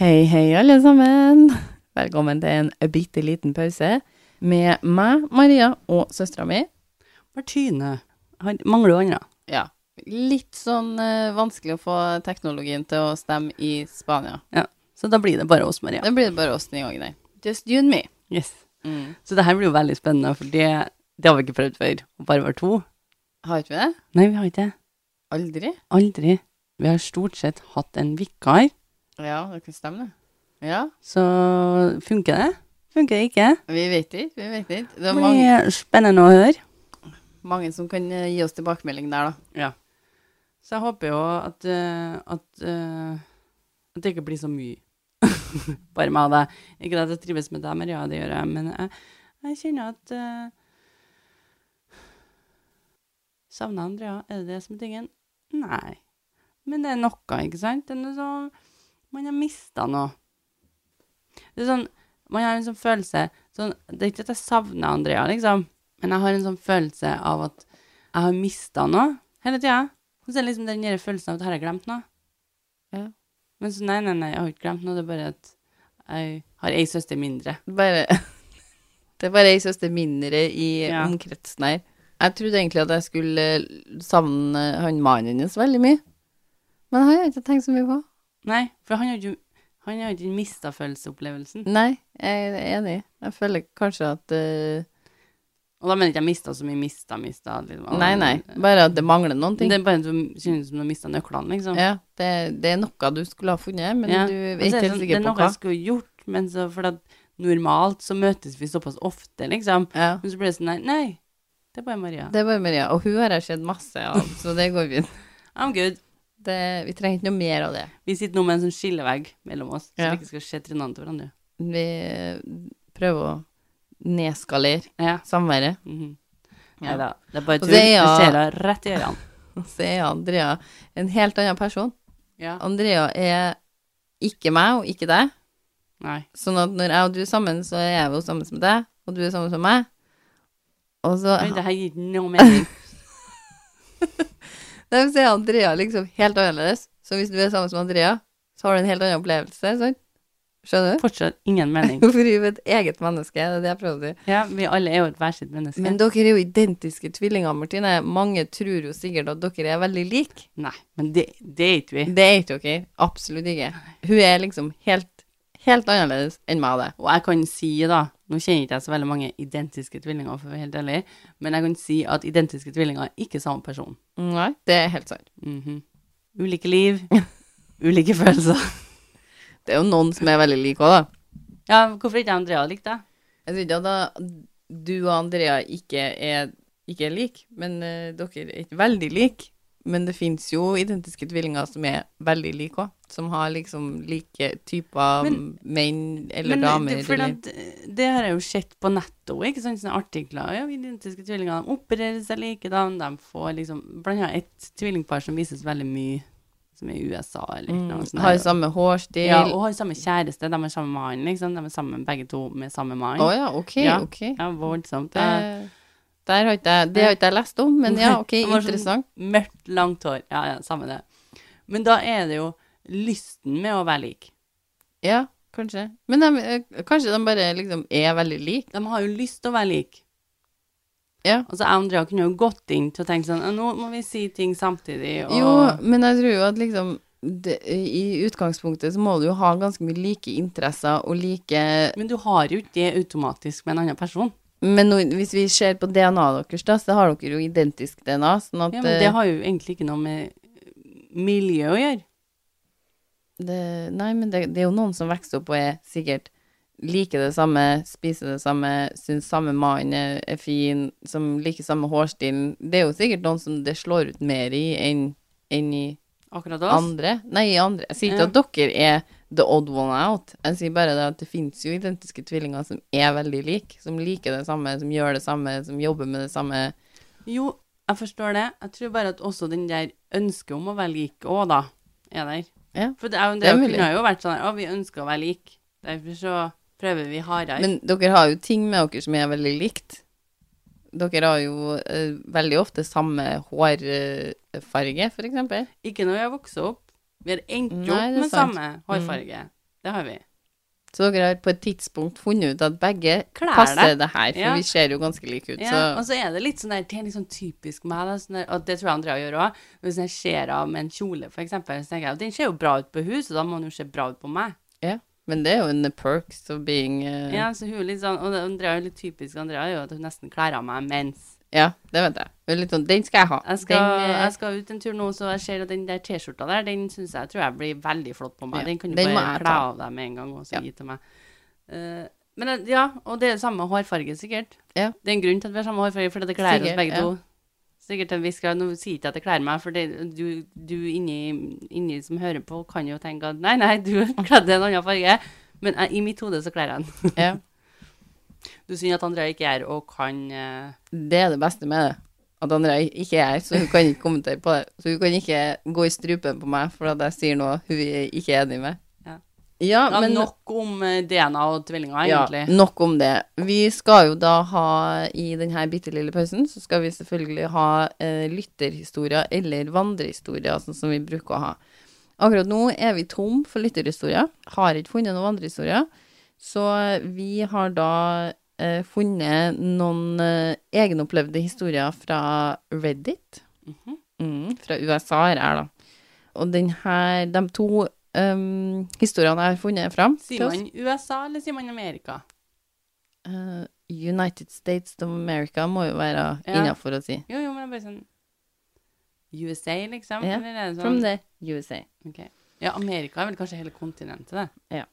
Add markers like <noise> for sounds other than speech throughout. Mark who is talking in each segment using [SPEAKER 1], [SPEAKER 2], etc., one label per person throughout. [SPEAKER 1] Hei, hei, alle sammen. <laughs> Velkommen til en bitte liten pause med meg, Maria, og søstera mi.
[SPEAKER 2] Martine. Han mangler jo andre.
[SPEAKER 1] Ja. Litt sånn eh, vanskelig å få teknologien til å stemme i Spania.
[SPEAKER 2] Så da blir det bare oss, Maria.
[SPEAKER 1] Da blir det bare oss denne gangen her. Just you and me.
[SPEAKER 2] Yes. Så det her blir jo veldig spennende, for det, det har vi ikke prøvd før. Å bare være to.
[SPEAKER 1] Har ikke vi det?
[SPEAKER 2] Nei, vi har ikke det.
[SPEAKER 1] Aldri?
[SPEAKER 2] Aldri. Vi har stort sett hatt en vikar.
[SPEAKER 1] Ja, det kan stemme, det. Ja.
[SPEAKER 2] Så funker det? Funker det ikke?
[SPEAKER 1] Vi vet ikke, vi vet ikke. Det
[SPEAKER 2] Det
[SPEAKER 1] er mange,
[SPEAKER 2] blir spennende å høre.
[SPEAKER 1] mange som kan eh, gi oss tilbakemelding der, da.
[SPEAKER 2] Så jeg håper jo at, eh, at, eh, at det ikke blir så mye. <laughs> Bare meg og deg. Ikke at jeg trives med deg, Maria, det gjør jeg, men jeg, jeg kjenner at uh, Savner Andrea, er det det som er tingen? Nei. Men det er noe, ikke sant? Det er noe sånn Man har mista noe. Det er sånn Man har en sånn følelse sånn, Det er ikke at jeg savner Andrea, liksom, men jeg har en sånn følelse av at jeg har mista noe hele tida. Og så er det liksom den der følelsen av at her har jeg glemt noe.
[SPEAKER 1] Ja.
[SPEAKER 2] Men så nei, nei, nei, jeg har ikke glemt noe. Det er bare at jeg har ei søster mindre.
[SPEAKER 1] Bare <laughs> Det er bare ei søster mindre i
[SPEAKER 2] Ja.
[SPEAKER 1] omkretsen her. Jeg trodde egentlig at jeg skulle eh, savne han mannen hennes veldig mye. Men han har jeg ikke tenkt så mye på.
[SPEAKER 2] Nei, for han har jo han har jo ikke mista følelsesopplevelsen.
[SPEAKER 1] Nei, jeg er enig. Jeg føler kanskje at eh,
[SPEAKER 2] Og da mener jeg ikke jeg mista så mye mista, mista. Liksom.
[SPEAKER 1] Nei, nei. Bare at det mangler noen ting.
[SPEAKER 2] Det er bare at du synes som du har mista nøklene, liksom.
[SPEAKER 1] ja, det, det er noe du skulle ha funnet, men
[SPEAKER 2] Ja.
[SPEAKER 1] du
[SPEAKER 2] Og
[SPEAKER 1] er
[SPEAKER 2] så
[SPEAKER 1] ikke
[SPEAKER 2] er det
[SPEAKER 1] helt
[SPEAKER 2] sånn,
[SPEAKER 1] sikker
[SPEAKER 2] Det er
[SPEAKER 1] på
[SPEAKER 2] noe
[SPEAKER 1] hva.
[SPEAKER 2] jeg skulle gjort, men så for at normalt så møtes vi såpass ofte, liksom.
[SPEAKER 1] Ja.
[SPEAKER 2] Men så blir det sånn nei, nei, det er bare Maria.
[SPEAKER 1] Det er bare Maria. Og hun har jeg sett masse
[SPEAKER 2] <laughs>
[SPEAKER 1] av, så det går fint.
[SPEAKER 2] I'm good.
[SPEAKER 1] Det, vi trenger ikke noe mer av det.
[SPEAKER 2] Vi sitter nå med en sånn skillevegg mellom oss, så
[SPEAKER 1] Ja.
[SPEAKER 2] vi ikke skal se trynene til hverandre.
[SPEAKER 1] Vi prøver å nedskalere
[SPEAKER 2] Ja.
[SPEAKER 1] samværet.
[SPEAKER 2] Mhm.
[SPEAKER 1] Ja.
[SPEAKER 2] Neida, det er bare
[SPEAKER 1] Og
[SPEAKER 2] tull.
[SPEAKER 1] det er
[SPEAKER 2] Det
[SPEAKER 1] jo-
[SPEAKER 2] ser deg rett i øynene.
[SPEAKER 1] Så er Andrea en helt annen person.
[SPEAKER 2] Ja.
[SPEAKER 1] Andrea er ikke meg og ikke deg.
[SPEAKER 2] Nei.
[SPEAKER 1] Sånn at når jeg og du er sammen, så er jeg jo sammen med deg, og du er sammen med meg. Og så
[SPEAKER 2] Oi, det her gir ikke noe mening.
[SPEAKER 1] <laughs> Nei, men så er Andrea liksom helt annerledes. Så hvis du er sammen med Andrea, så har du en helt annen opplevelse. Sant? Skjønner du?
[SPEAKER 2] Fortsatt ingen
[SPEAKER 1] <laughs>
[SPEAKER 2] mening.
[SPEAKER 1] Hvorfor er hun et eget menneske? Det er det jeg prøver å si.
[SPEAKER 2] Ja, vi alle er jo et hver sitt menneske.
[SPEAKER 1] Men dere er jo identiske tvillinger, Martine. Mange tror jo sikkert at dere er veldig like.
[SPEAKER 2] Nei, men det, det er ikke vi.
[SPEAKER 1] Det er ikke dere. Absolutt ikke. Hun er liksom helt, helt annerledes enn meg og deg.
[SPEAKER 2] Og jeg kan si da, nå kjenner ikke jeg så veldig mange identiske tvillinger, for å være helt ærlig, men jeg kan si at identiske tvillinger er ikke samme person.
[SPEAKER 1] Nei, det er helt sant.
[SPEAKER 2] Mhm. Ulike
[SPEAKER 1] <laughs>
[SPEAKER 2] liv, ulike følelser.
[SPEAKER 1] Det er jo noen som er veldig like òg, da.
[SPEAKER 2] Ja, hvorfor ikke Andrea likte det?
[SPEAKER 1] Jeg sier ikke at da- du og Andrea ikke er, ikke er like, men eh, dere er ikke veldig like. Men det fins jo identiske tvillinger som er veldig like òg, som har liksom like typer
[SPEAKER 2] Men-
[SPEAKER 1] menn eller
[SPEAKER 2] Men eh,
[SPEAKER 1] damer.
[SPEAKER 2] det, for
[SPEAKER 1] eller,
[SPEAKER 2] at, eh, det har jeg jo sett på netto, ikke sant, sånne artikler. Ja, identiske tvillinger, de opererer seg likedan, de får liksom, blant annet et tvillingpar som vises veldig mye, som er i USA eller noe
[SPEAKER 1] mm,
[SPEAKER 2] sånt.
[SPEAKER 1] har
[SPEAKER 2] her.
[SPEAKER 1] samme hårstil.
[SPEAKER 2] Ja,
[SPEAKER 1] Å
[SPEAKER 2] og har samme kjæreste, de har samme mann, liksom, de er sammen begge to med samme mann.
[SPEAKER 1] ja, OK,
[SPEAKER 2] Ja.
[SPEAKER 1] OK.
[SPEAKER 2] Ja, voldsomt.
[SPEAKER 1] Det,
[SPEAKER 2] Ja.
[SPEAKER 1] der har ikke jeg, det har ikke jeg lest om, men ja,
[SPEAKER 2] Nei,
[SPEAKER 1] OK, <laughs>
[SPEAKER 2] det var sånn-
[SPEAKER 1] interessant.
[SPEAKER 2] Mørkt, langt hår. Ja, ja, samme det. Men da er det jo lysten med å være lik.
[SPEAKER 1] Ja, kanskje. Men de, eh, kanskje de bare liksom er veldig like.
[SPEAKER 2] De har jo lyst til å være like.
[SPEAKER 1] Ja.
[SPEAKER 2] Altså, jeg og Andrea kunne jo gått inn til å tenke sånn, «Ja, nå må vi si ting samtidig, og...
[SPEAKER 1] Jo, men jeg tror jo at liksom det, I utgangspunktet så må du jo ha ganske mye like interesser og like
[SPEAKER 2] Men du har jo ikke det automatisk med en annen person.
[SPEAKER 1] Men nå, hvis vi ser på DNA-et deres, da, så har dere jo identisk DNA. Sånn at
[SPEAKER 2] Ja, men det har jo egentlig ikke noe med miljø å gjøre.
[SPEAKER 1] eh, det, Nei, men det, det er jo noen som vokser opp og er sikkert liker det samme, spiser det samme, syns samme mann er er fin, som liker samme hårstilen. Det er jo sikkert noen som det slår ut mer i enn enn i
[SPEAKER 2] Akkurat oss.
[SPEAKER 1] andre. Nei, i andre. Jeg sier ikke
[SPEAKER 2] Ja.
[SPEAKER 1] at dere er the odd one out. Jeg sier bare det at det finnes jo identiske tvillinger som er veldig like, som liker det samme, som gjør det samme, som jobber med det samme.
[SPEAKER 2] Jo, jeg forstår det. Jeg tror bare at også den der ønsket om å være lik òg, da, er der.
[SPEAKER 1] Ja,
[SPEAKER 2] For det, er jo-
[SPEAKER 1] det er
[SPEAKER 2] det
[SPEAKER 1] mulig.
[SPEAKER 2] kunne jo vært sånn her, å, vi ønsker å være lik. Derfor så prøver vi hardere.
[SPEAKER 1] Men dere har jo ting med dere som er veldig likt. Dere har jo eh, veldig ofte samme hårfarge, for eksempel.
[SPEAKER 2] ikke når vi har vokst opp. Vi har endt
[SPEAKER 1] Nei,
[SPEAKER 2] opp
[SPEAKER 1] det er
[SPEAKER 2] med
[SPEAKER 1] sant. Mm.
[SPEAKER 2] samme hårfarge. Det har vi.
[SPEAKER 1] Så dere har på et tidspunkt funnet ut at begge
[SPEAKER 2] Klær
[SPEAKER 1] passer
[SPEAKER 2] deg.
[SPEAKER 1] det her, for
[SPEAKER 2] Ja.
[SPEAKER 1] vi ser jo ganske like ut.
[SPEAKER 2] Ja, og
[SPEAKER 1] Så
[SPEAKER 2] så er det litt sånn der, det er litt sånn typisk meg, da, sånn der, og det tror jeg Andrea gjør òg. Hvis jeg ser av med en kjole, for eksempel, så tenker jeg at den ser jo bra ut på hun, så da må den jo se bra ut på meg.
[SPEAKER 1] ja. Men det er jo en perks of being eh,
[SPEAKER 2] Ja, så hun er litt sånn, og det- Andrea er jo litt typisk Andrea, er jo at hun nesten klær av meg mens.
[SPEAKER 1] ja, det vet jeg. Det er litt sånn, den skal jeg ha.
[SPEAKER 2] Jeg skal,
[SPEAKER 1] den, eh,
[SPEAKER 2] jeg skal ut en tur nå, så jeg ser at den der T-skjorta der, den syns jeg tror jeg blir veldig flott på meg.
[SPEAKER 1] Ja,
[SPEAKER 2] Den kan du
[SPEAKER 1] den må
[SPEAKER 2] bare
[SPEAKER 1] jeg
[SPEAKER 2] kle
[SPEAKER 1] ta.
[SPEAKER 2] av deg med en gang og så
[SPEAKER 1] Ja.
[SPEAKER 2] gi til meg. Eh, men jeg- ja, og det er samme hårfarge, sikkert.
[SPEAKER 1] Ja.
[SPEAKER 2] Det er en grunn til at vi har samme hårfarge, for det kler oss
[SPEAKER 1] Sikkert,
[SPEAKER 2] begge
[SPEAKER 1] ja.
[SPEAKER 2] to. Sikkert til en viss grad. Nå sier ikke jeg at det kler meg, for det, du, du inni, inni som hører på, kan jo tenke at nei, nei, du kledde en annen farge. Men jeg, i mitt hode så kler jeg den.
[SPEAKER 1] ja.
[SPEAKER 2] Du synd at Andrea ikke er her og kan eh,
[SPEAKER 1] Det er det beste med det. At Andrea ikke er her, så hun kan ikke kommentere på det. Så hun kan ikke gå i strupen på meg for at jeg sier noe hun er ikke enig med.
[SPEAKER 2] Ja.
[SPEAKER 1] ja
[SPEAKER 2] ja,
[SPEAKER 1] men
[SPEAKER 2] Nok om eh, DNA og tvillinger,
[SPEAKER 1] ja,
[SPEAKER 2] egentlig.
[SPEAKER 1] nok om det. Vi skal jo da ha, i denne bitte lille pausen, så skal vi selvfølgelig ha eh, lytterhistorier eller vandrehistorier, sånn som vi bruker å ha. Akkurat nå er vi tom for lytterhistorier. Har ikke funnet noen vandrehistorier. Så eh, vi har da eh, funnet noen eh, egenopplevde historier fra Reddit.
[SPEAKER 2] Mhm.
[SPEAKER 1] Mm, fra USA her, er da. Og den her, de to um, historiene jeg har funnet fram til
[SPEAKER 2] Sier
[SPEAKER 1] oss-
[SPEAKER 2] man USA, eller sier man Amerika?
[SPEAKER 1] Eh, United States of America må jo være
[SPEAKER 2] Ja.
[SPEAKER 1] innenfor å si.
[SPEAKER 2] Jo, jo, men det er bare sånn USA, liksom?
[SPEAKER 1] Ja,
[SPEAKER 2] Eller er det
[SPEAKER 1] From
[SPEAKER 2] sånn?
[SPEAKER 1] the USA.
[SPEAKER 2] Ok. Ja, Amerika er vel kanskje hele kontinentet, det.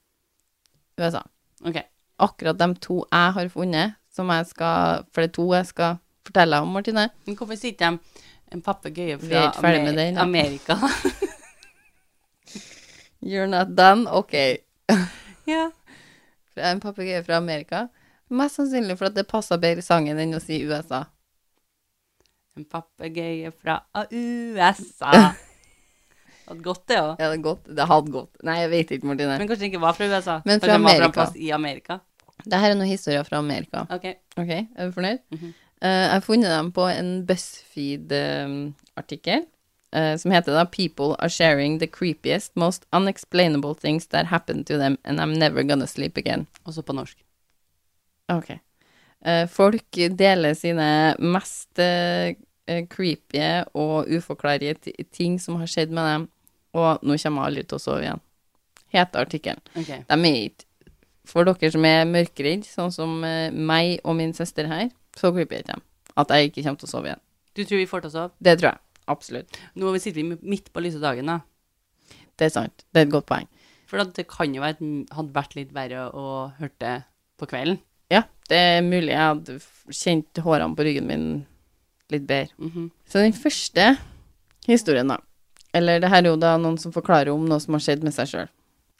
[SPEAKER 1] USA.
[SPEAKER 2] Ok.
[SPEAKER 1] Akkurat de to jeg har funnet, som jeg skal, for det er to jeg skal fortelle om, Martine.
[SPEAKER 2] Men hvorfor sier ikke de en papegøye
[SPEAKER 1] Vi er
[SPEAKER 2] fra
[SPEAKER 1] ikke ferdig med
[SPEAKER 2] Amer-
[SPEAKER 1] den, ja.
[SPEAKER 2] Amerika?
[SPEAKER 1] <laughs> You're not done? Ok.
[SPEAKER 2] ja.
[SPEAKER 1] Fra En papegøye fra Amerika. Mest sannsynlig for at det passer bedre i sangen enn å si USA.
[SPEAKER 2] En papegøye fra ah, USA. <laughs> Hadde gått, det òg.
[SPEAKER 1] Ja, det er godt. Det hadde gått. Nei, jeg vet ikke, Martine.
[SPEAKER 2] Men kanskje den ikke var fra USA?
[SPEAKER 1] Men
[SPEAKER 2] Kanskje
[SPEAKER 1] fra
[SPEAKER 2] den var en
[SPEAKER 1] Amerika.
[SPEAKER 2] plass I Amerika.
[SPEAKER 1] Dette er noen historier fra Amerika.
[SPEAKER 2] Ok.
[SPEAKER 1] Ok, er du fornøyd?
[SPEAKER 2] Mhm.
[SPEAKER 1] Eh, jeg har funnet dem på en BuzzFeed-artikkel eh, som heter da 'People are sharing the creepiest, most unexplainable things that happened to them, and I'm never gonna sleep again'.
[SPEAKER 2] Også på norsk.
[SPEAKER 1] Ok. Eh, folk deler sine mest eh, eh, creepy og uforklarlige ti- ting som har skjedd med dem, og 'Nå kommer jeg aldri til å sove igjen', heter artikkelen.
[SPEAKER 2] Ok.
[SPEAKER 1] De er ikke For dere som er mørkeredd, sånn som eh, meg og min søster her, så klipper jeg ikke dem. At jeg ikke kommer til å sove igjen.
[SPEAKER 2] Du tror vi får til å sove?
[SPEAKER 1] Det tror jeg. Absolutt.
[SPEAKER 2] Nå sitter vi midt på lyse dagen, da.
[SPEAKER 1] Det er sant. Det er et godt poeng.
[SPEAKER 2] For at det kan jo være, at hadde vært litt verre å høre det på kvelden.
[SPEAKER 1] Ja, det er mulig jeg hadde f- kjent hårene på ryggen min litt bedre.
[SPEAKER 2] Mhm.
[SPEAKER 1] Så den første historien, da. Eller det her er jo da noen som forklarer om noe som har skjedd med seg sjøl.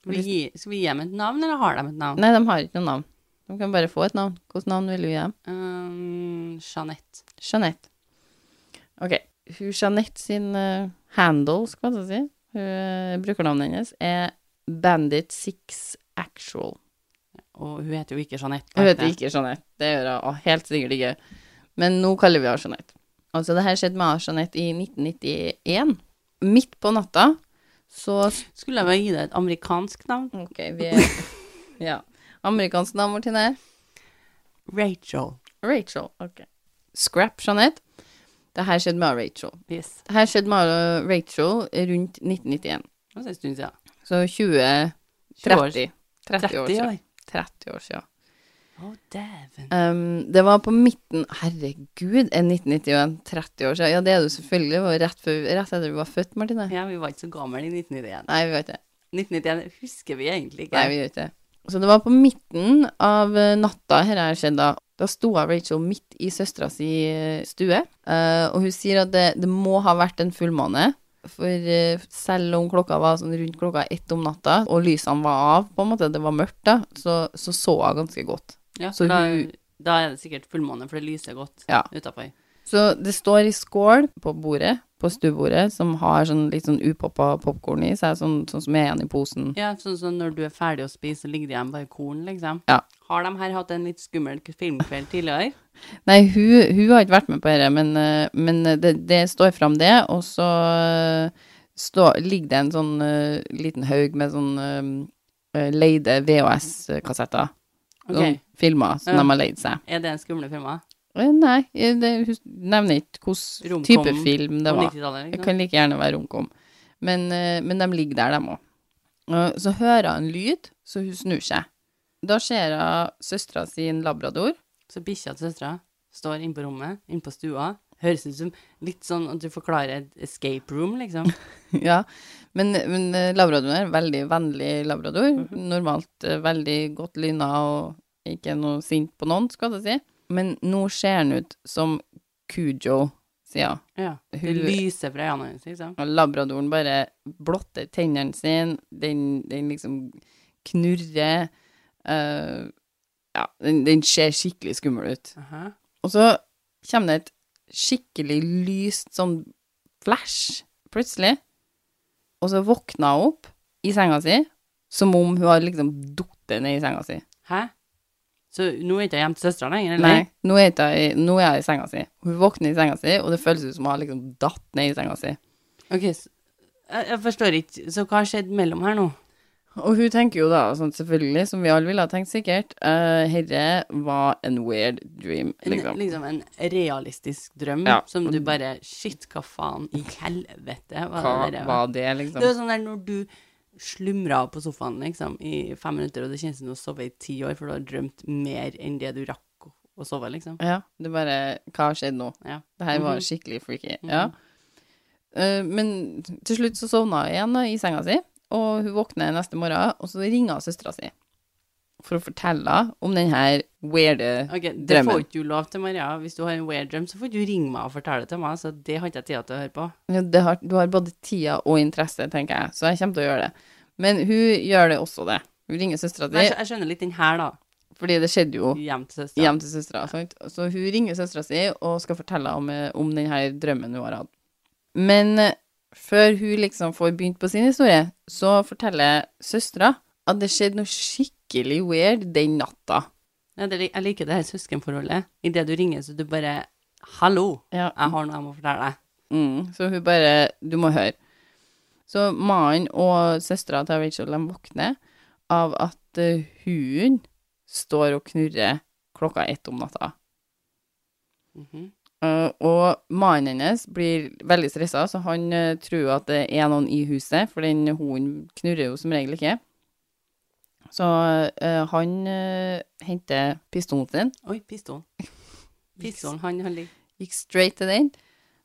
[SPEAKER 2] Skal vi gi- Skal vi gi dem et navn, eller har de et navn?
[SPEAKER 1] Nei, de har ikke noe navn. De kan bare få et navn. Hvilket navn vil du gi dem?
[SPEAKER 2] Um, Jeanette.
[SPEAKER 1] Jeanette. Ok, hun Jeanette sin eh, handle, skal man si, hun, eh, brukernavnet hennes, er Bandit6Actual.
[SPEAKER 2] Og hun heter jo ikke Jeanette.
[SPEAKER 1] Hun heter ikke Jeanette, det gjør hun å, helt sikkert ikke. Men nå kaller vi henne Jeanette. Altså, det her skjedde med henne, Jeanette i 1991. Midt på natta, så
[SPEAKER 2] Skulle jeg bare gi deg et amerikansk navn?
[SPEAKER 1] Ok, vi er Ja. Amerikansk navn, Martine?
[SPEAKER 2] Rachel.
[SPEAKER 1] Rachel. Ok. Scrap Jeanette. Det her skjedde med henne, Rachel.
[SPEAKER 2] Yes.
[SPEAKER 1] Det her skjedde med henne, Rachel rundt 1991.
[SPEAKER 2] Det var en stund siden.
[SPEAKER 1] Så 20
[SPEAKER 2] 20 år.
[SPEAKER 1] 30, 30 år siden. 30 år siden.
[SPEAKER 2] Oh, dæven.
[SPEAKER 1] Um, det var på midten Herregud, er 1991 30 år siden? Ja, det er du selvfølgelig. Det var jo rett, før, rett etter du var født, Martine.
[SPEAKER 2] Ja, vi var ikke så gamle i 1991.
[SPEAKER 1] Nei, vi gjør ikke det.
[SPEAKER 2] 1991 husker vi egentlig ikke.
[SPEAKER 1] Nei, vi gjør ikke det. Så det var på midten av eh, natta her her skjedde da. Da sto jeg Rachel midt i søstera si eh, stue, eh, og hun sier at det, det må ha vært en fullmåne. For eh, selv om klokka var sånn rundt klokka ett om natta, og lysene var av, på en måte, det var mørkt da, så så, så hun ganske godt.
[SPEAKER 2] ja,
[SPEAKER 1] så
[SPEAKER 2] for da,
[SPEAKER 1] hun-
[SPEAKER 2] da er det sikkert fullmåne, for det lyser godt
[SPEAKER 1] Ja.
[SPEAKER 2] utenfor.
[SPEAKER 1] Så det står i skål på bordet, på stuebordet, som har sånn litt sånn upoppa popkorn i seg, sånn, sånn som er igjen i posen.
[SPEAKER 2] Ja, sånn som når du er ferdig å spise, så ligger det igjen bare korn, liksom.
[SPEAKER 1] Ja.
[SPEAKER 2] Har de her hatt en litt skummel filmkveld tidligere?
[SPEAKER 1] Nei, hun, hun har ikke vært med på dette, men, eh, men det, det står fram det, og så eh, står- ligger det en sånn eh, liten haug med sånn eh, leide VHS-kassetter. Sånn
[SPEAKER 2] Ok.
[SPEAKER 1] filmer som
[SPEAKER 2] Ja.
[SPEAKER 1] de har leid seg.
[SPEAKER 2] Er det en skumle film? da?
[SPEAKER 1] Eh, Nei, eh, det, hun nevner ikke hvilken
[SPEAKER 2] Romkom.
[SPEAKER 1] type film det
[SPEAKER 2] På
[SPEAKER 1] var.
[SPEAKER 2] 90-tallet?
[SPEAKER 1] Det
[SPEAKER 2] Liksom.
[SPEAKER 1] kan like gjerne være romkom. Men, eh, men de ligger der, de òg. Så hører hun lyd, så hun snur seg. Da ser hun søstera sin labrador. <laughs>
[SPEAKER 2] Så bikkja til søstera står inne på rommet, inne på stua. Høres ut som litt sånn at du forklarer et escape room,
[SPEAKER 1] <laughs>
[SPEAKER 2] liksom.
[SPEAKER 1] ja. Men, men eh, labradoren er en veldig vennlig labrador. Normalt eh, veldig godt lyna og ikke noe sint på noen, skal jeg si. Men nå ser han ut som Cujo, sier hun.
[SPEAKER 2] Ja. Det
[SPEAKER 1] Hun-
[SPEAKER 2] lyser fra øynene hennes, liksom.
[SPEAKER 1] Og labradoren bare blotter tennene sine, den, den liksom knurrer. eh, ja, den, den ser skikkelig skummel ut.
[SPEAKER 2] Aha.
[SPEAKER 1] Og så kommer det et skikkelig lyst sånn flash plutselig. Og så våkner hun opp i senga si, som om hun har liksom datt ned i senga si.
[SPEAKER 2] Hæ? Så nå er ikke jeg hjemme til søstera lenger, eller?
[SPEAKER 1] Nei, nå er, ikke jeg, nå er jeg i senga si. Hun våkner i senga si, og det føles ut som hun har liksom datt ned i senga si.
[SPEAKER 2] Ok, så, jeg, jeg forstår ikke. Så hva har skjedd mellom her nå?
[SPEAKER 1] Og hun tenker jo da, sånn selvfølgelig, som vi alle ville ha tenkt sikkert, uh, herre var en weird dream,
[SPEAKER 2] En, liksom.
[SPEAKER 1] liksom.
[SPEAKER 2] en realistisk drøm
[SPEAKER 1] Ja.
[SPEAKER 2] som du bare Shit, hva faen i helvete var
[SPEAKER 1] Hva
[SPEAKER 2] det der?
[SPEAKER 1] var det,
[SPEAKER 2] Det er
[SPEAKER 1] liksom?
[SPEAKER 2] jo sånn der når du slumrer på sofaen liksom, i fem minutter, og det kjennes som du har sovet i ti år, for du har drømt mer enn det du rakk å- å sove, liksom.
[SPEAKER 1] Ja, det er bare, hva har skjedd nå?
[SPEAKER 2] Ja.
[SPEAKER 1] Det her var
[SPEAKER 2] Mhm.
[SPEAKER 1] skikkelig freaky, ja. Eh, men til slutt så sovna hun igjen da, i senga si, og hun våkner neste morgen, og så ringer hun søstera si for å fortelle henne om den her weirde
[SPEAKER 2] Ok, Det
[SPEAKER 1] Drømmen.
[SPEAKER 2] får ikke du lov til, Maria. Hvis du har en weird drøm, så får du ringe meg og fortelle det til meg. Så det har ikke jeg tid til å høre på.
[SPEAKER 1] Ja, det har, du har både tida og interesse, tenker jeg, så jeg kommer til å gjøre det. Men hun gjør det også det. Hun ringer søstera
[SPEAKER 2] Men jeg,
[SPEAKER 1] si,
[SPEAKER 2] skj- jeg skjønner litt den her, da.
[SPEAKER 1] fordi det skjedde jo
[SPEAKER 2] Hjem til søstera.
[SPEAKER 1] hjem til søstera. sant? Så hun ringer søstera si og skal fortelle om, eh, om denne drømmen hun har hatt. Men eh, før hun liksom får begynt på sin historie, så forteller søstera at det skjedde noe skikkelig weird den natta.
[SPEAKER 2] Ja, det, lik- jeg liker det her søskenforholdet. Idet du ringer, så du bare Hallo, jeg har noe jeg må fortelle deg.
[SPEAKER 1] Mm, så hun bare Du må høre. Så mannen og søstera til Rachel de våkner av at eh, hunden står og knurrer klokka ett om natta.
[SPEAKER 2] Mhm.
[SPEAKER 1] Uh, og mannen hennes blir veldig stressa, så han uh, tror jo at det er noen i huset, for den hunden knurrer jo som regel ikke. Så uh, han uh, henter pistolen sin,
[SPEAKER 2] Oi,
[SPEAKER 1] <laughs>
[SPEAKER 2] pistolen. Pistolen, han har, lig-
[SPEAKER 1] gikk straight til den,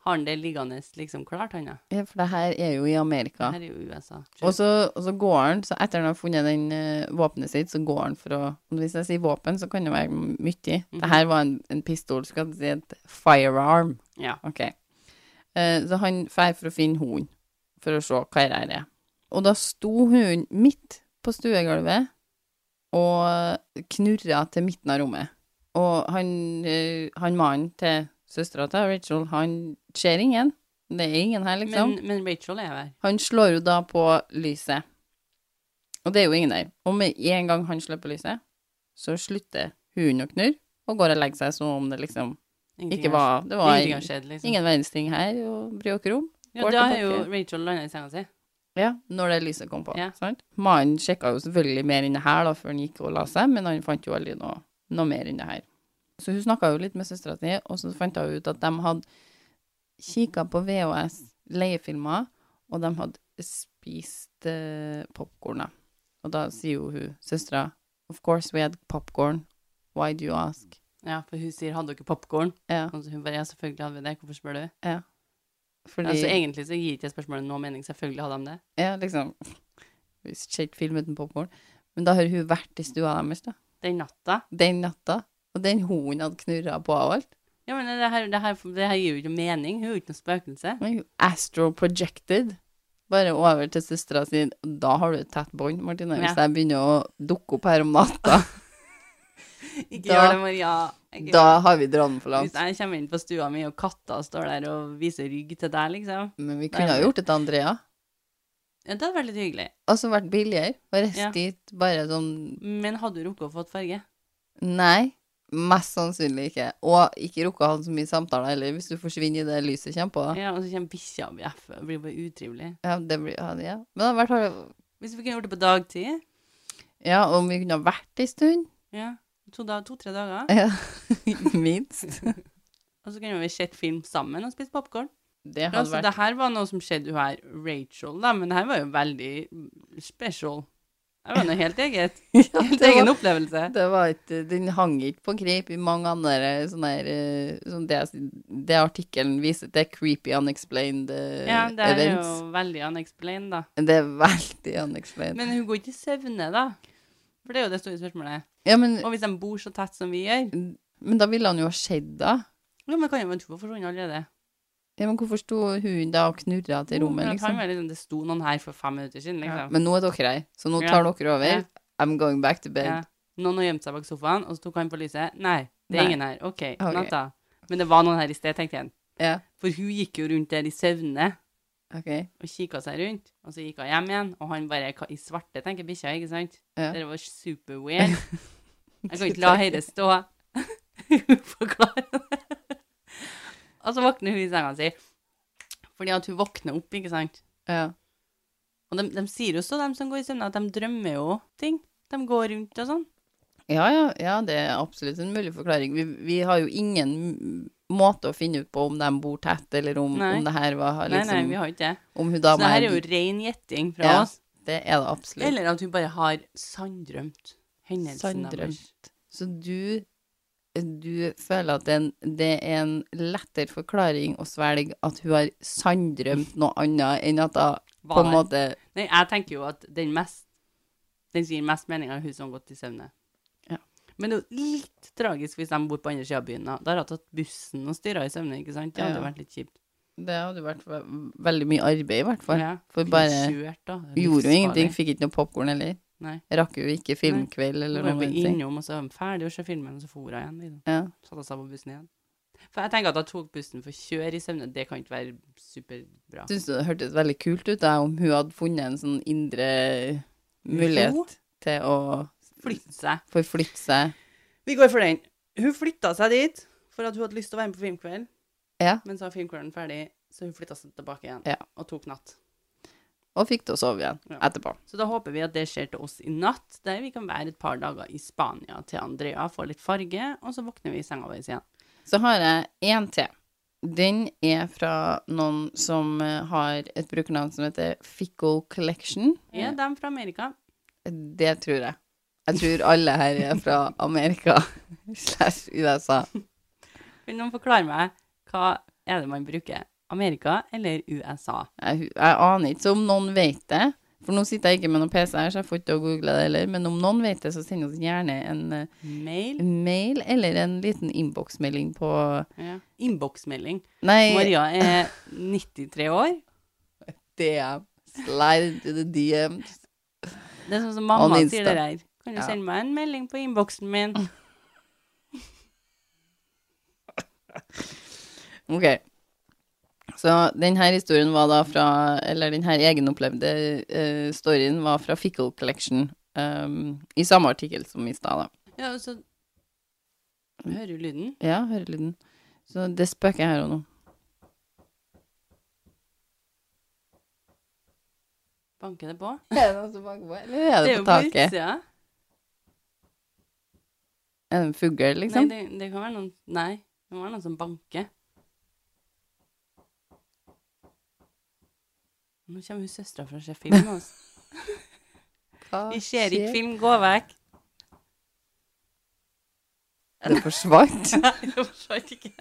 [SPEAKER 2] har han det liggende liksom klart, han da?
[SPEAKER 1] eh, for det her er jo i Amerika.
[SPEAKER 2] Her er jo USA.
[SPEAKER 1] Og så, og så går han, så etter han har funnet den eh, våpenet sitt, så går han for å og Hvis jeg sier våpen, så kan det være mye. Det her var en, en pistol, skal jeg si et firearm.
[SPEAKER 2] Ja.
[SPEAKER 1] Ok. Eh, så han drar for å finne hunden, for å se hva det her er. Og da sto hunden midt på stuegulvet og knurra til midten av rommet. Og han, eh, han mannen til søstera til Rachel, han ser ingen. Det er ingen her, liksom.
[SPEAKER 2] men, men Rachel er jo her.
[SPEAKER 1] Han slår jo da på lyset. Og det er jo ingen der. Og med en gang han slår på lyset, så slutter hunden å knurre og går og legger seg som om det liksom
[SPEAKER 2] Ingenting
[SPEAKER 1] ikke
[SPEAKER 2] har
[SPEAKER 1] var Det
[SPEAKER 2] skjedd.
[SPEAKER 1] var
[SPEAKER 2] Ingenting har
[SPEAKER 1] ingen,
[SPEAKER 2] skjedd, liksom.
[SPEAKER 1] ingen verdens ting her å bry dere om.
[SPEAKER 2] ja,
[SPEAKER 1] går
[SPEAKER 2] da har
[SPEAKER 1] tilbake.
[SPEAKER 2] jo Rachel landa i senga si.
[SPEAKER 1] Ja, når det lyset kom på.
[SPEAKER 2] Ja.
[SPEAKER 1] Sant? Mannen sjekka jo selvfølgelig mer enn det her da, før han gikk og la seg, men han fant jo aldri noe, noe mer enn det her. Så hun snakka jo litt med søstera si, og så fant hun ut at de hadde kikka på VHS leiefilmer, og de hadde spist uh, popkorn. da. Og da sier jo hun søstera Of course we had popcorn. Why do you ask?
[SPEAKER 2] Ja, for hun sier 'hadde dere popkorn?'
[SPEAKER 1] Ja,
[SPEAKER 2] Og så hun bare 'ja, selvfølgelig hadde vi det, hvorfor spør du?'
[SPEAKER 1] fordi
[SPEAKER 2] Altså egentlig så gir ikke jeg spørsmålet noe mening, selvfølgelig hadde de det.
[SPEAKER 1] Ja, liksom Hvis ikke film uten popkorn. Men da har hun vært i stua deres, da.
[SPEAKER 2] Den natta
[SPEAKER 1] den natta. Og den hunden hadde knurra på og alt.
[SPEAKER 2] Ja, men det her, det, her, det her gir jo ikke mening. Hun er jo ikke noe spøkelse.
[SPEAKER 1] <laughs> Men hun Astro-projected. Bare over til søstera si. Da har du et tett bånd, Martine. Hvis
[SPEAKER 2] Ja.
[SPEAKER 1] jeg begynner å dukke opp her om natta,
[SPEAKER 2] Ikke
[SPEAKER 1] Da-
[SPEAKER 2] gjør det, Maria. <laughs> Ikke
[SPEAKER 1] da har vi dratt den for
[SPEAKER 2] Hvis
[SPEAKER 1] langt.
[SPEAKER 2] jeg kommer inn på stua mi, og katta står der og viser rygg til deg, liksom.
[SPEAKER 1] Men vi kunne ha gjort det til Andrea.
[SPEAKER 2] Ja, det hadde vært litt hyggelig.
[SPEAKER 1] Altså vært billigere. Og
[SPEAKER 2] Ja.
[SPEAKER 1] reist dit bare sånn
[SPEAKER 2] Men hadde du rukket å fått farge?
[SPEAKER 1] Nei. Mest sannsynlig ikke. Og ikke rukka å ha så mye samtaler heller, hvis du forsvinner i det lyset kommer på. da.
[SPEAKER 2] Ja, og så kommer bikkja og bjeffer og blir bare utrivelig.
[SPEAKER 1] Ja, det blir, ja, ja. Men det hadde vært
[SPEAKER 2] Hvis vi kunne gjort det på dagtid
[SPEAKER 1] Ja, om vi kunne ha vært ei stund.
[SPEAKER 2] Ja. To-tre dager.
[SPEAKER 1] Ja, <laughs> minst.
[SPEAKER 2] Og så kunne vi sett film sammen og spist popkorn.
[SPEAKER 1] Det
[SPEAKER 2] Ja,
[SPEAKER 1] hadde
[SPEAKER 2] så
[SPEAKER 1] vært
[SPEAKER 2] det her var noe som skjedde hun her, Rachel, da, men det her var jo veldig special. Det var noe helt eget.
[SPEAKER 1] Ja, <laughs>
[SPEAKER 2] Helt
[SPEAKER 1] det
[SPEAKER 2] egen
[SPEAKER 1] var-
[SPEAKER 2] opplevelse.
[SPEAKER 1] Det var ikke, den hang ikke på grep i mange andre sånne her eh, sånn det, det artikkelen viser, det er creepy unexplained eh,
[SPEAKER 2] Ja, det er
[SPEAKER 1] events.
[SPEAKER 2] jo veldig unexplained, da.
[SPEAKER 1] Det er veldig unexplained.
[SPEAKER 2] Men hun går ikke i søvne, da. For det er jo det store spørsmålet.
[SPEAKER 1] ja, men,
[SPEAKER 2] Og hvis de bor så tett som vi gjør
[SPEAKER 1] men da ville han jo ha skjedd, da.
[SPEAKER 2] Ja, men kan jo være to forsvunnet allerede.
[SPEAKER 1] Ja, men hvorfor sto hunden da og knurra til rommet,
[SPEAKER 2] Men at han
[SPEAKER 1] liksom?
[SPEAKER 2] var liksom, det sto noen her for fem minutter siden,
[SPEAKER 1] Ja.
[SPEAKER 2] liksom.
[SPEAKER 1] Men nå er dere her, så nå
[SPEAKER 2] Ja.
[SPEAKER 1] tar dere over.
[SPEAKER 2] Ja.
[SPEAKER 1] I'm going back to bed.
[SPEAKER 2] Ja. Noen har gjemt seg bak sofaen, og så tok han på lyset. Nei, det er
[SPEAKER 1] Nei.
[SPEAKER 2] ingen her. OK,
[SPEAKER 1] Ok.
[SPEAKER 2] natta. Men det var noen her i sted, tenkte jeg.
[SPEAKER 1] Ja,
[SPEAKER 2] For hun gikk jo rundt der i søvne
[SPEAKER 1] ok.
[SPEAKER 2] og kikka seg rundt. Og så gikk hun hjem igjen, og han bare "Hva I svarte, tenker bikkja, ikke sant?
[SPEAKER 1] Ja.
[SPEAKER 2] Det var super weird.
[SPEAKER 1] <laughs>
[SPEAKER 2] Jeg kan ikke la dette stå <laughs> uforklarende. og så våkner hun i senga si, fordi at hun våkner opp, ikke sant?
[SPEAKER 1] Ja.
[SPEAKER 2] Og de, de sier jo så, de som går i søvne, at de drømmer jo ting. De går rundt og sånn.
[SPEAKER 1] Ja, ja, ja, det er absolutt en mulig forklaring. Vi, vi har jo ingen m- måte å finne ut på om de bor tett, eller om,
[SPEAKER 2] Nei.
[SPEAKER 1] om det her var
[SPEAKER 2] Nei, nei,
[SPEAKER 1] liksom
[SPEAKER 2] vi har ikke det.
[SPEAKER 1] Om hun
[SPEAKER 2] Så
[SPEAKER 1] dama
[SPEAKER 2] det her
[SPEAKER 1] er
[SPEAKER 2] er jo ren gjetting fra
[SPEAKER 1] Ja.
[SPEAKER 2] oss.
[SPEAKER 1] Det er det absolutt.
[SPEAKER 2] Eller at hun bare har sanndrømt hendelsen deres.
[SPEAKER 1] Sanndrømt. Så du, du føler at det er, en, det er en lettere forklaring å svelge at hun har sanndrømt noe annet enn at hun på en
[SPEAKER 2] Var.
[SPEAKER 1] måte
[SPEAKER 2] Nei, jeg tenker jo at den mest Den som gir mest mening, er hun som har gått i søvne.
[SPEAKER 1] Ja.
[SPEAKER 2] Men det er jo litt tragisk hvis de bor på andre sida av byen. Da Da har hun tatt bussen og styra i søvne, ikke sant? Det hadde
[SPEAKER 1] Ja.
[SPEAKER 2] vært litt kjipt.
[SPEAKER 1] Det hadde vært ve- veldig mye arbeid, i hvert fall.
[SPEAKER 2] Ja.
[SPEAKER 1] For
[SPEAKER 2] Blir
[SPEAKER 1] bare
[SPEAKER 2] kjørt, da. Det
[SPEAKER 1] Gjorde
[SPEAKER 2] er
[SPEAKER 1] jo
[SPEAKER 2] livsfarlig.
[SPEAKER 1] ingenting, fikk ikke noe popkorn heller.
[SPEAKER 2] Nei.
[SPEAKER 1] Rakk jo ikke filmkveld
[SPEAKER 2] Hun
[SPEAKER 1] eller
[SPEAKER 2] var
[SPEAKER 1] noen
[SPEAKER 2] jo
[SPEAKER 1] ting.
[SPEAKER 2] innom, og så var hun ferdig og så filmen, og så for hun igjen. Liksom.
[SPEAKER 1] Ja.
[SPEAKER 2] Satte seg på bussen igjen. For jeg tenker at hun tok bussen for å kjøre i søvne. Det kan ikke være superbra.
[SPEAKER 1] Syns du det hørtes veldig kult ut da, om hun hadde funnet en sånn indre mulighet
[SPEAKER 2] Hun
[SPEAKER 1] til å
[SPEAKER 2] flytter seg.
[SPEAKER 1] forflytte seg?
[SPEAKER 2] Vi går for den. Hun flytta seg dit for at hun hadde lyst til å være med på filmkveld.
[SPEAKER 1] Ja.
[SPEAKER 2] Men så var filmkvelden ferdig, så hun flytta seg tilbake igjen
[SPEAKER 1] Ja.
[SPEAKER 2] og tok natt.
[SPEAKER 1] Og fikk til å sove igjen
[SPEAKER 2] Ja.
[SPEAKER 1] etterpå.
[SPEAKER 2] Så da håper vi at det skjer til oss i natt, der vi kan være et par dager i Spania til Andrea får litt farge, og så våkner vi i senga vår igjen.
[SPEAKER 1] Så har jeg én til. Den er fra noen som eh, har et brukernavn som heter Fickle Collection.
[SPEAKER 2] Er de fra Amerika?
[SPEAKER 1] Det tror jeg. Jeg tror alle her er fra Amerika <laughs> slash USA.
[SPEAKER 2] Vil noen forklare meg hva er det man bruker? Amerika eller USA?
[SPEAKER 1] Jeg, jeg aner ikke, så om noen vet det For nå sitter jeg ikke med noen PC her, så jeg får ikke til å google det heller. Men om noen vet det, så send oss gjerne en eh,
[SPEAKER 2] Mail?
[SPEAKER 1] mail eller en liten innboksmelding på
[SPEAKER 2] Ja. Innboksmelding.
[SPEAKER 1] Nei,
[SPEAKER 2] Maria er 93 år.
[SPEAKER 1] DM. Slide into the DMs.
[SPEAKER 2] Det er sånn som
[SPEAKER 1] On
[SPEAKER 2] mamma
[SPEAKER 1] Insta.
[SPEAKER 2] sier det der. Kan du
[SPEAKER 1] Ja.
[SPEAKER 2] sende meg en melding på innboksen min?
[SPEAKER 1] Ok. Så denne historien var da fra Eller denne egenopplevde eh, storyen var fra Fickle Collection. ehm, I samme artikkel som i stad, da.
[SPEAKER 2] Ja, og så Hører du lyden?
[SPEAKER 1] Ja, hører lyden. Så det spøker her og nå.
[SPEAKER 2] Banker det på?
[SPEAKER 1] Er det noen som banker på, eller er det,
[SPEAKER 2] jo
[SPEAKER 1] på taket?
[SPEAKER 2] utsida.
[SPEAKER 1] Er det en fugl,
[SPEAKER 2] Nei,
[SPEAKER 1] liksom?
[SPEAKER 2] det, det kan være noen Nei, det må være noen som banker. Nå kommer hun søstera for å se
[SPEAKER 1] <laughs>
[SPEAKER 2] film med oss.
[SPEAKER 1] Hva
[SPEAKER 2] Vi ser
[SPEAKER 1] skjer?
[SPEAKER 2] ikke film, gå vekk.
[SPEAKER 1] <laughs> Det forsvant.
[SPEAKER 2] Nei, jeg forstår ikke.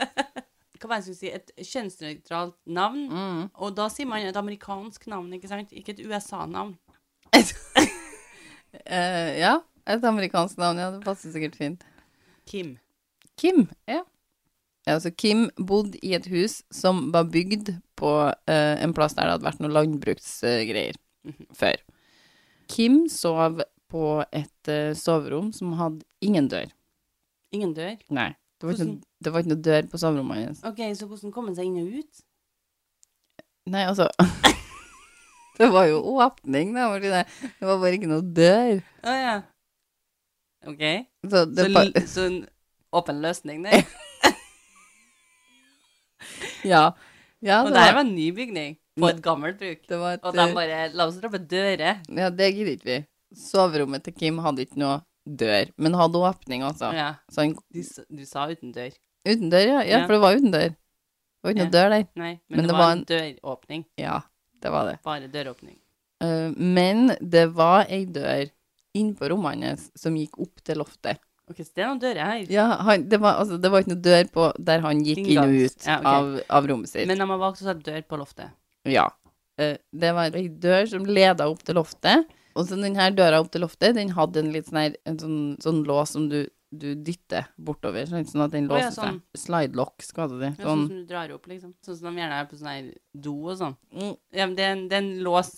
[SPEAKER 2] Hva var det jeg skulle si? Et kjønnsnøytralt navn.
[SPEAKER 1] <laughs> Mm.
[SPEAKER 2] Og da sier man et amerikansk navn, ikke sant? Ikke et USA-navn.
[SPEAKER 1] Eh, ja, et amerikansk navn. Ja, det passer sikkert fint.
[SPEAKER 2] Kim.
[SPEAKER 1] Kim. Ja. ja altså, Kim bodde i et hus som var bygd på eh, en plass der det hadde vært noe landbruksgreier mhm, før. Kim sov på et eh, soverom som hadde ingen dør.
[SPEAKER 2] Ingen dør.
[SPEAKER 1] Nei. Det var, ikke,
[SPEAKER 2] Hvordan-
[SPEAKER 1] noe- det var ikke noe dør på soverommet hans.
[SPEAKER 2] OK, så hvordan kom han seg inn og ut?
[SPEAKER 1] Nei, altså <laughs> Det var jo åpning, da. var Det ikke det? Det var bare ikke noe dør.
[SPEAKER 2] Å ja. OK.
[SPEAKER 1] Så det
[SPEAKER 2] Så,
[SPEAKER 1] ba-
[SPEAKER 2] l- så en åpen løsning der.
[SPEAKER 1] <laughs> Ja. ja
[SPEAKER 2] Og
[SPEAKER 1] det,
[SPEAKER 2] det her
[SPEAKER 1] var,
[SPEAKER 2] var en ny bygning på et gammelt bruk.
[SPEAKER 1] det var et
[SPEAKER 2] Og de
[SPEAKER 1] eh,
[SPEAKER 2] bare La oss droppe dører.
[SPEAKER 1] Ja, det gidder ikke vi. soverommet til Kim hadde ikke noe dør, men hadde åpning, altså.
[SPEAKER 2] Ja.
[SPEAKER 1] Så han,
[SPEAKER 2] Du, s- du sa uten dør.
[SPEAKER 1] uten dør, ja. ja.
[SPEAKER 2] Ja.
[SPEAKER 1] For det var uten dør. Det var ikke
[SPEAKER 2] Ja.
[SPEAKER 1] noe dør der.
[SPEAKER 2] Nei, men, det, var en døråpning.
[SPEAKER 1] Ja, det var det.
[SPEAKER 2] Bare døråpning.
[SPEAKER 1] Eh, men det var ei dør innpå rommet hans som gikk opp til loftet.
[SPEAKER 2] Ok, så det er noen dører her.
[SPEAKER 1] Ja, han, det, var, altså, det var ikke noe dør på der han gikk inn og
[SPEAKER 2] Inngangs.
[SPEAKER 1] ut
[SPEAKER 2] Ja, ok.
[SPEAKER 1] av, av rommet sitt.
[SPEAKER 2] Men de har valgt å sette dør på loftet.
[SPEAKER 1] Ja. Eh, Det var ei dør som leda opp til loftet. Og så den her døra opp til loftet, den hadde en litt sånn, her, en sånn, sånn lås som du, du dytter bortover, sånn, sånn at den
[SPEAKER 2] Å, ja,
[SPEAKER 1] låser seg. Slidelock, skal du si. Sånn.
[SPEAKER 2] Ja, Sånn som du drar opp, liksom. Sånn som de gjerne er på sånn her do og sånn.
[SPEAKER 1] Mm,
[SPEAKER 2] Ja, men det er en, det er en lås...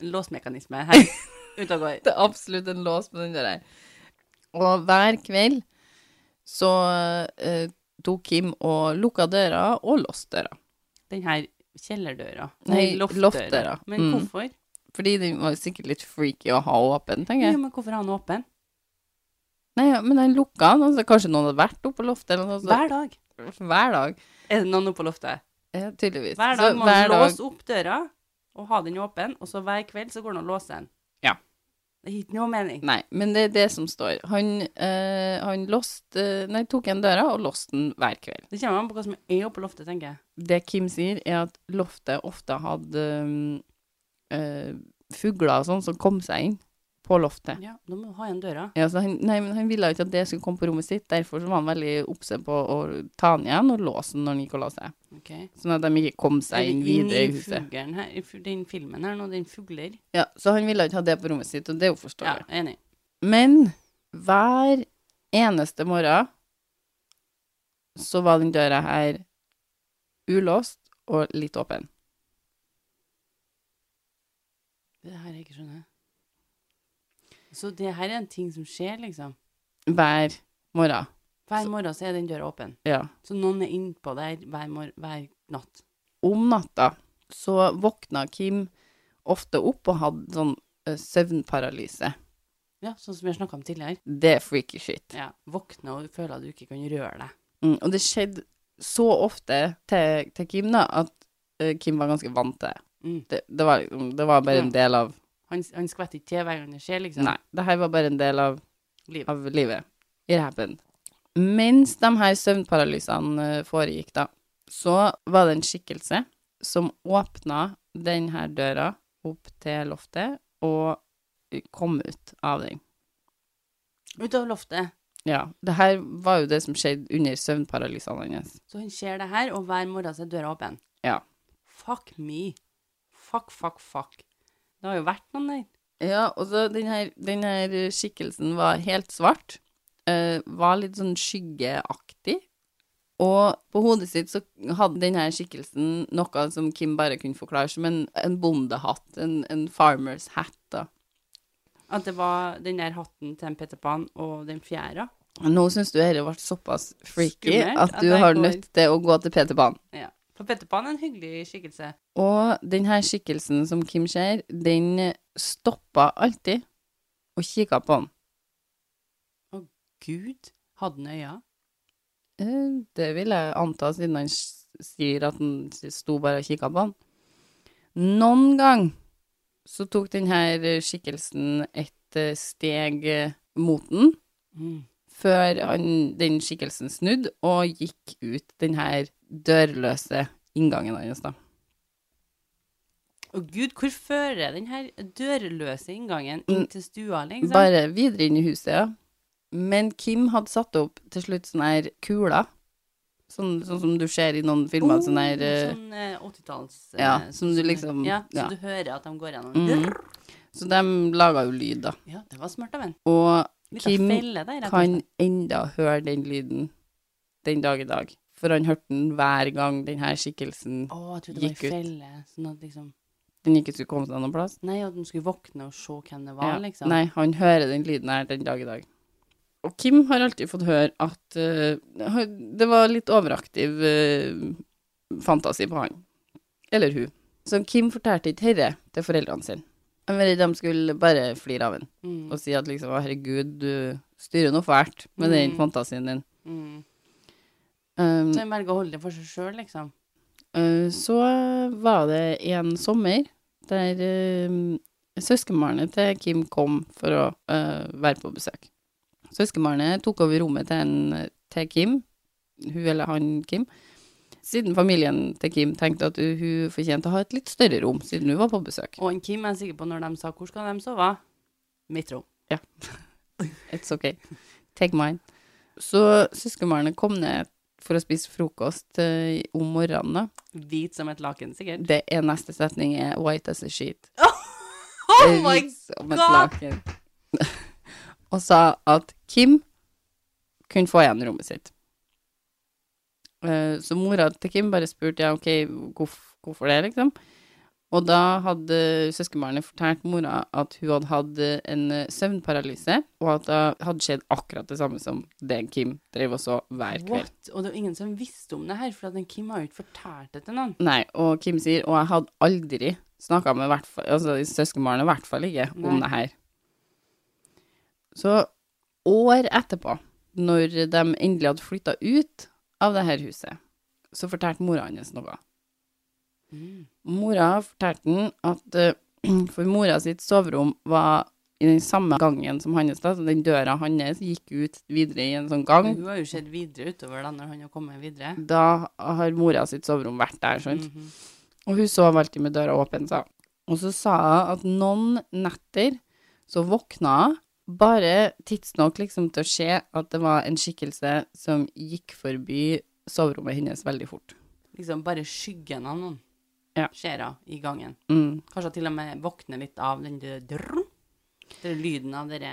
[SPEAKER 2] Låsmekanisme her. Ute og går.
[SPEAKER 1] det er absolutt en lås på den døra her. Og hver kveld så eh, tok Kim og lukka døra og låste døra.
[SPEAKER 2] Den her kjellerdøra.
[SPEAKER 1] Nei, loftdøra.
[SPEAKER 2] Men
[SPEAKER 1] Mm.
[SPEAKER 2] hvorfor?
[SPEAKER 1] Fordi den var sikkert litt freaky å ha åpen, tenker jeg.
[SPEAKER 2] Ja, men hvorfor har han åpen?
[SPEAKER 1] Nei, ja, men han lukka den, altså kanskje noen hadde vært oppe på loftet eller noe sånt.
[SPEAKER 2] Hver dag.
[SPEAKER 1] Hver dag.
[SPEAKER 2] Er det noen oppe på loftet?
[SPEAKER 1] Ja, tydeligvis.
[SPEAKER 2] Hver
[SPEAKER 1] Så
[SPEAKER 2] dag må
[SPEAKER 1] hver
[SPEAKER 2] han
[SPEAKER 1] dag-
[SPEAKER 2] låse opp døra og ha den åpen, og så hver kveld så går han og låser den.
[SPEAKER 1] Ja.
[SPEAKER 2] Det gir ikke noe mening.
[SPEAKER 1] Nei, men det er det som står. Han, eh, han låste eh, Nei, tok igjen døra og låste den hver kveld.
[SPEAKER 2] Det kommer an på hva som er oppe på loftet, tenker jeg.
[SPEAKER 1] Det Kim sier, er at loftet ofte hadde um, eh, fugler og sånn som kom seg inn på loftet.
[SPEAKER 2] Ja, da må du ha igjen døra.
[SPEAKER 1] Ja, så han, nei, men han ville jo ikke at det skulle komme på rommet sitt, derfor så var han veldig oppse på å ta den igjen og låse den når han gikk og la seg.
[SPEAKER 2] Ok.
[SPEAKER 1] Sånn at de ikke kom
[SPEAKER 2] Er
[SPEAKER 1] seg
[SPEAKER 2] det
[SPEAKER 1] inn
[SPEAKER 2] inn
[SPEAKER 1] videre i
[SPEAKER 2] i
[SPEAKER 1] huset.
[SPEAKER 2] fuglen her, i fu- den filmen her nå, den fugler.
[SPEAKER 1] Ja, så han ville ikke ha det på rommet sitt, og det er jo
[SPEAKER 2] Ja,
[SPEAKER 1] forståelig.
[SPEAKER 2] enig.
[SPEAKER 1] Men hver eneste morgen så var den døra her ulåst og litt åpen.
[SPEAKER 2] Det her jeg ikke skjønner. Så det her er en ting som skjer, liksom.
[SPEAKER 1] Hver morgen.
[SPEAKER 2] Hver morgen så er den døra åpen.
[SPEAKER 1] Ja.
[SPEAKER 2] Så noen er innpå der hver, mor hver natt.
[SPEAKER 1] Om natta så våkna Kim ofte opp og hadde sånn eh, søvnparalyse.
[SPEAKER 2] Ja, sånn som vi har snakka om tidligere.
[SPEAKER 1] Det er freaky shit.
[SPEAKER 2] Ja, Våkne og føle at du ikke kan røre deg.
[SPEAKER 1] Mm, og det skjedde så ofte til, til Kim da, at eh, Kim var ganske vant til det.
[SPEAKER 2] Mm.
[SPEAKER 1] det. Det var, liksom- det var bare en del av
[SPEAKER 2] Han, han skvetter ikke til hver gang det skjer, liksom.
[SPEAKER 1] Nei, det her var bare en del av
[SPEAKER 2] Livet.
[SPEAKER 1] av livet. It happened. Mens de her søvnparalysene eh, foregikk, da, så var det en skikkelse som åpna den her døra opp til loftet og eh, kom ut av den.
[SPEAKER 2] Ut av loftet.
[SPEAKER 1] Ja. Det her var jo det som skjedde under søvnparalysene hans.
[SPEAKER 2] Så han ser det her, og hver morgen så er døra åpen.
[SPEAKER 1] Ja.
[SPEAKER 2] Fuck me. Fuck, fuck, fuck. Det har jo vært noen der.
[SPEAKER 1] Ja, og så den her, den her skikkelsen var helt svart. eh, var litt sånn skyggeaktig. Og på hodet sitt så hadde den her skikkelsen noe som Kim bare kunne forklare som en, en bondehatt, en, en farmers hat, da.
[SPEAKER 2] At det var den der hatten til en Peter Pan og den fjæra.
[SPEAKER 1] Nå syns du dette ble såpass freaky
[SPEAKER 2] Skummelt
[SPEAKER 1] at
[SPEAKER 2] at
[SPEAKER 1] du
[SPEAKER 2] jeg
[SPEAKER 1] har
[SPEAKER 2] går-
[SPEAKER 1] nødt til å gå til Peter Pan.
[SPEAKER 2] Ja. For Peter Pan er en hyggelig skikkelse.
[SPEAKER 1] Og den her skikkelsen som Kim ser, den stoppa alltid og kikka på han.
[SPEAKER 2] Gud, hadde han øyne?
[SPEAKER 1] Eh, Det vil jeg anta, siden han s- sier at han s- sto bare og kikka på han. Noen gang så tok denne skikkelsen et eh, steg eh, mot den,
[SPEAKER 2] Mm.
[SPEAKER 1] før han, den skikkelsen snudde og gikk ut denne dørløse inngangen hans, da.
[SPEAKER 2] Å gud, hvor fører den her dørløse inngangen inn til stua, liksom?
[SPEAKER 1] Mm. Bare videre inn i huset, ja. Men Kim hadde satt opp til slutt sånne her kuler, sånn, sånn som du ser i noen filmer, sånn her eh,
[SPEAKER 2] Sånn eh, 80-talls... eh,
[SPEAKER 1] Ja, som du
[SPEAKER 2] sånn-
[SPEAKER 1] liksom-
[SPEAKER 2] Ja, så
[SPEAKER 1] ja.
[SPEAKER 2] du hører at de går gjennom.
[SPEAKER 1] Mhm. Så de laga jo lyd, da.
[SPEAKER 2] Ja, det var smart av en.
[SPEAKER 1] Og
[SPEAKER 2] Litt
[SPEAKER 1] Kim
[SPEAKER 2] felle der, rett og
[SPEAKER 1] kan
[SPEAKER 2] slett.
[SPEAKER 1] enda høre den lyden den dag i dag. For han hørte den hver gang den her skikkelsen
[SPEAKER 2] Å, jeg trodde det
[SPEAKER 1] gikk ut.
[SPEAKER 2] var en felle, sånn at liksom...
[SPEAKER 1] Den ikke skulle komme seg noen plass.
[SPEAKER 2] Nei, at den skulle våkne og se hvem det var,
[SPEAKER 1] Ja.
[SPEAKER 2] liksom.
[SPEAKER 1] Nei, han hører den lyden her den dag i dag. Og Kim har alltid fått høre at eh, han- det var litt overaktiv eh, fantasi på han. Eller hun. Så Kim fortalte ikke herre til foreldrene sine. Han var redd de skulle bare flire av han
[SPEAKER 2] Mm,
[SPEAKER 1] og si at liksom, «Å, herregud, du styrer noe fælt med den
[SPEAKER 2] Mm.
[SPEAKER 1] fantasien din.
[SPEAKER 2] mm.
[SPEAKER 1] Um,
[SPEAKER 2] Så jeg velger å holde det for seg selv, liksom.
[SPEAKER 1] Eh, Så var det en sommer der eh, Søskenbarnet til Kim kom for å øh, være på besøk. Søskenbarnet tok over rommet til, en, til Kim, hun eller han Kim, siden familien til Kim tenkte at hun fortjente å ha et litt større rom, siden hun var på besøk.
[SPEAKER 2] Og en Kim er sikker på når de sa hvor skal de sove. Mitt rom.
[SPEAKER 1] It's okay. Take mine. Så søskenbarnet kom ned for å spise frokost øh, om morgenen. da.
[SPEAKER 2] Hvit som et laken,
[SPEAKER 1] <laughs>
[SPEAKER 2] sikkert.
[SPEAKER 1] Det er neste setning er white as a sheet.
[SPEAKER 2] Oh my
[SPEAKER 1] Hvit som Eh, et
[SPEAKER 2] God!
[SPEAKER 1] laken. <laughs> og sa at Kim kunne få igjen rommet sitt. Eh, Så mora til Kim bare spurte ja, ok, hvorf- hvorfor det, liksom. Og da hadde søskenbarnet fortalt mora at hun hadde hatt en eh, søvnparalyse, og at det hadde skjedd akkurat det samme som det Kim drev og så hver kveld.
[SPEAKER 2] What? Og det var ingen som visste om det her, for at den Kim har jo ikke fortalt det til noen.
[SPEAKER 1] Nei, og Kim sier, og jeg hadde aldri snakka med hvert fall- altså, søskenbarnet, i hvert fall ikke, om
[SPEAKER 2] Nei.
[SPEAKER 1] det her. Så år etterpå, når de endelig hadde flytta ut av det her huset, så fortalte mora hans noe. Mora fortalte han at eh, <clears throat> for mora sitt soverom var i den samme gangen som hans, da, så den døra hans gikk ut videre i en sånn gang.
[SPEAKER 2] Hun har jo sett videre utover da, når han har kommet videre.
[SPEAKER 1] Da har mora sitt soverom vært der, sant?
[SPEAKER 2] Mhm.
[SPEAKER 1] Og hun sov alltid med døra åpen, sa hun. Og så sa hun at noen netter så våkna hun bare tidsnok liksom til å se at det var en skikkelse som gikk forbi soverommet hennes veldig fort.
[SPEAKER 2] Liksom bare skyggen av noen
[SPEAKER 1] Ja.
[SPEAKER 2] skjer hun i gangen.
[SPEAKER 1] Mm.
[SPEAKER 2] Kanskje hun til og med våkner litt av den der drrrr, den lyden av dere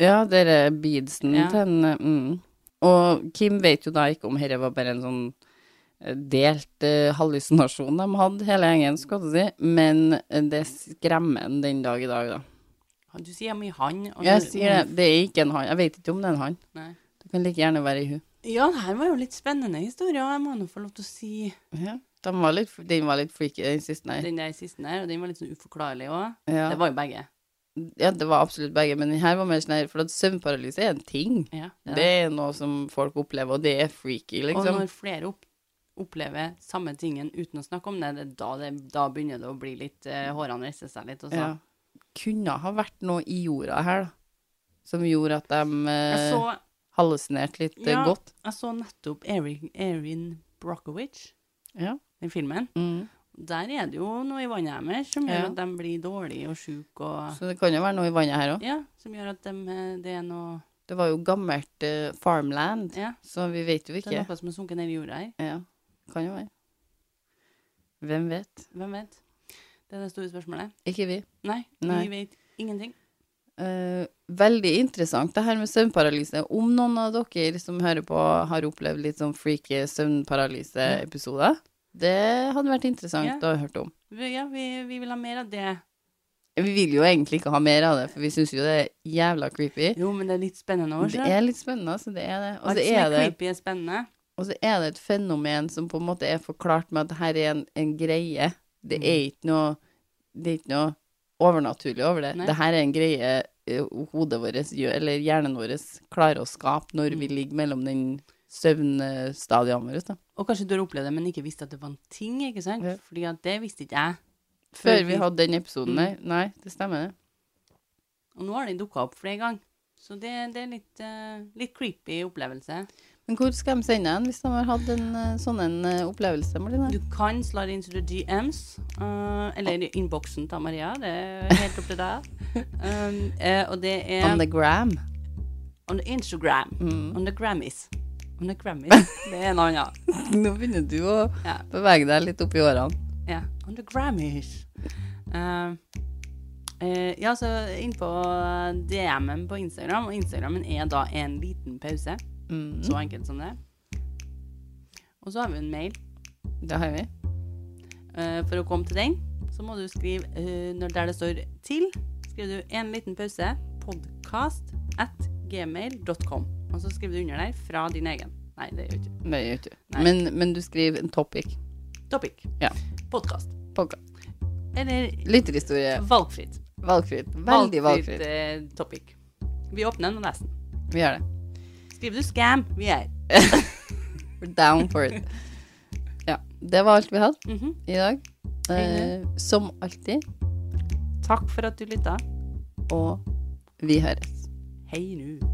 [SPEAKER 1] Ja, dere beadsen
[SPEAKER 2] Ja.
[SPEAKER 1] til henne. Mm. Og Kim vet jo da ikke om dette var bare en sånn eh, delt eh, hallusinasjon de hadde, hele gjengen, skal du si, men eh, det skremmer en den dag i dag, da.
[SPEAKER 2] Du sier mye han. og
[SPEAKER 1] Jeg
[SPEAKER 2] så-
[SPEAKER 1] sier det, det er ikke en han. Jeg vet ikke om det er en han.
[SPEAKER 2] Nei.
[SPEAKER 1] Det kan like gjerne være ei hun.
[SPEAKER 2] Ja, det her var jo litt spennende historie, og jeg må nå få lov til å si
[SPEAKER 1] Ja, den var litt, den var litt freaky, den siste, nei.
[SPEAKER 2] den der siste der, og den var litt sånn uforklarlig òg.
[SPEAKER 1] Ja.
[SPEAKER 2] Det var jo begge.
[SPEAKER 1] ja, det var absolutt begge, men den her var mer sånn her, for at søvnparalyse er en ting.
[SPEAKER 2] Ja,
[SPEAKER 1] Det er noe som folk opplever, og det er freaky,
[SPEAKER 2] Og
[SPEAKER 1] liksom.
[SPEAKER 2] når flere opp, opplever samme tingen uten å snakke om det, det, er da, det da begynner det å bli litt eh, Hårene reiser seg litt. Og så.
[SPEAKER 1] Ja. Kunne ha vært noe i jorda her, da, som gjorde at de
[SPEAKER 2] Jeg,
[SPEAKER 1] eh,
[SPEAKER 2] så,
[SPEAKER 1] hallusinerte litt eh,
[SPEAKER 2] Ja.
[SPEAKER 1] godt.
[SPEAKER 2] jeg så nettopp Erin, Erin Brockovich,
[SPEAKER 1] Ja.
[SPEAKER 2] den filmen.
[SPEAKER 1] Mm.
[SPEAKER 2] Der er det jo noe i vannet deres som
[SPEAKER 1] Ja.
[SPEAKER 2] gjør at de blir dårlige og syke. Og,
[SPEAKER 1] Så det kan jo være noe i vannet her òg.
[SPEAKER 2] ja, som gjør at dem, eh, det er noe
[SPEAKER 1] Det var jo gammelt eh, farmland,
[SPEAKER 2] ja,
[SPEAKER 1] så vi vet jo
[SPEAKER 2] Det er
[SPEAKER 1] ikke.
[SPEAKER 2] noe som er sunket ned i jorda her.
[SPEAKER 1] Ja. Kan jo være. Hvem vet?
[SPEAKER 2] Hvem vet? Det er det store spørsmålet.
[SPEAKER 1] Ikke vi.
[SPEAKER 2] Nei,
[SPEAKER 1] Nei.
[SPEAKER 2] vi vet ingenting.
[SPEAKER 1] Eh, veldig interessant, det her med søvnparalyse. Om noen av dere som hører på, har opplevd litt sånn freaky søvnparalyse-episoder, det hadde vært interessant å ha hørt om.
[SPEAKER 2] Vi, ja, vi, vi vil ha mer av det.
[SPEAKER 1] Vi vil jo egentlig ikke ha mer av det, for vi syns jo det er jævla creepy.
[SPEAKER 2] Jo, men det er litt spennende òg,
[SPEAKER 1] Det
[SPEAKER 2] sjøl.
[SPEAKER 1] er litt spennende, så det er det. Og så
[SPEAKER 2] Alt som
[SPEAKER 1] er
[SPEAKER 2] er
[SPEAKER 1] det,
[SPEAKER 2] creepy, er spennende.
[SPEAKER 1] og så er det et fenomen som på en måte er forklart med at det her er en, en greie. Det er ikke noe, det er ikke noe overnaturlig over det.
[SPEAKER 2] Nei.
[SPEAKER 1] Det her er en greie eh, hodet vårt, gjør- eller hjernen vår, klarer å skape når vi ligger mellom den søvnstadiene våre. Da.
[SPEAKER 2] Og kanskje du har opplevd det, men ikke visste at det var en ting, ikke sant?
[SPEAKER 1] Ja.
[SPEAKER 2] Fordi at det visste ikke jeg.
[SPEAKER 1] Før vi Mm. hadde den episoden der. Nei, det stemmer det.
[SPEAKER 2] Og nå har den dukka opp flere ganger. Så det, det er litt, eh, litt creepy opplevelse.
[SPEAKER 1] Men hvor skal de sende den hvis de har hatt en eh, sånn en eh, opplevelse, Marlene?
[SPEAKER 2] Du kan slå det inn til DMs, eh, eller i innboksen til Maria. Det er helt opp til deg. Um, eh, og det er
[SPEAKER 1] On the gram.
[SPEAKER 2] on the Instagram.
[SPEAKER 1] Mm.
[SPEAKER 2] On the Grammys. On the Grammys. Det er en annen.
[SPEAKER 1] <laughs> Nå begynner du å
[SPEAKER 2] Ja.
[SPEAKER 1] bevege deg litt opp i årene.
[SPEAKER 2] Ja. On the Grammys. Eh, eh, ja, så inn på DM-en på Instagram, og Instagrammen er da en liten pause.
[SPEAKER 1] Mm.
[SPEAKER 2] Så enkelt som det. Og så har vi en mail.
[SPEAKER 1] Mm. Det har vi.
[SPEAKER 2] Eh, for å komme til den, så må du skrive eh, når der det står 'til', skriver du en liten pause, podcast at gmail.com. Og så skriver du under der 'fra din egen'. Nei, det gjør du
[SPEAKER 1] Det
[SPEAKER 2] ikke.
[SPEAKER 1] gjør ikke du.
[SPEAKER 2] Nei.
[SPEAKER 1] Men, men du skriver en topic.
[SPEAKER 2] Topic.
[SPEAKER 1] Ja.
[SPEAKER 2] Podkast.
[SPEAKER 1] Podcast.
[SPEAKER 2] Eller
[SPEAKER 1] Lytterhistorie.
[SPEAKER 2] valgfritt.
[SPEAKER 1] Valgfritt. Veldig valgfritt.
[SPEAKER 2] eh, topic. Vi åpner den og leser den.
[SPEAKER 1] Vi gjør det.
[SPEAKER 2] Skriver du 'scam', vi er her.
[SPEAKER 1] We're down for it. Ja. Det var alt vi hadde
[SPEAKER 2] Mhm.
[SPEAKER 1] i dag. Eh, som alltid, Takk for at du lytta, og
[SPEAKER 2] Og vi høres.
[SPEAKER 1] hei nu.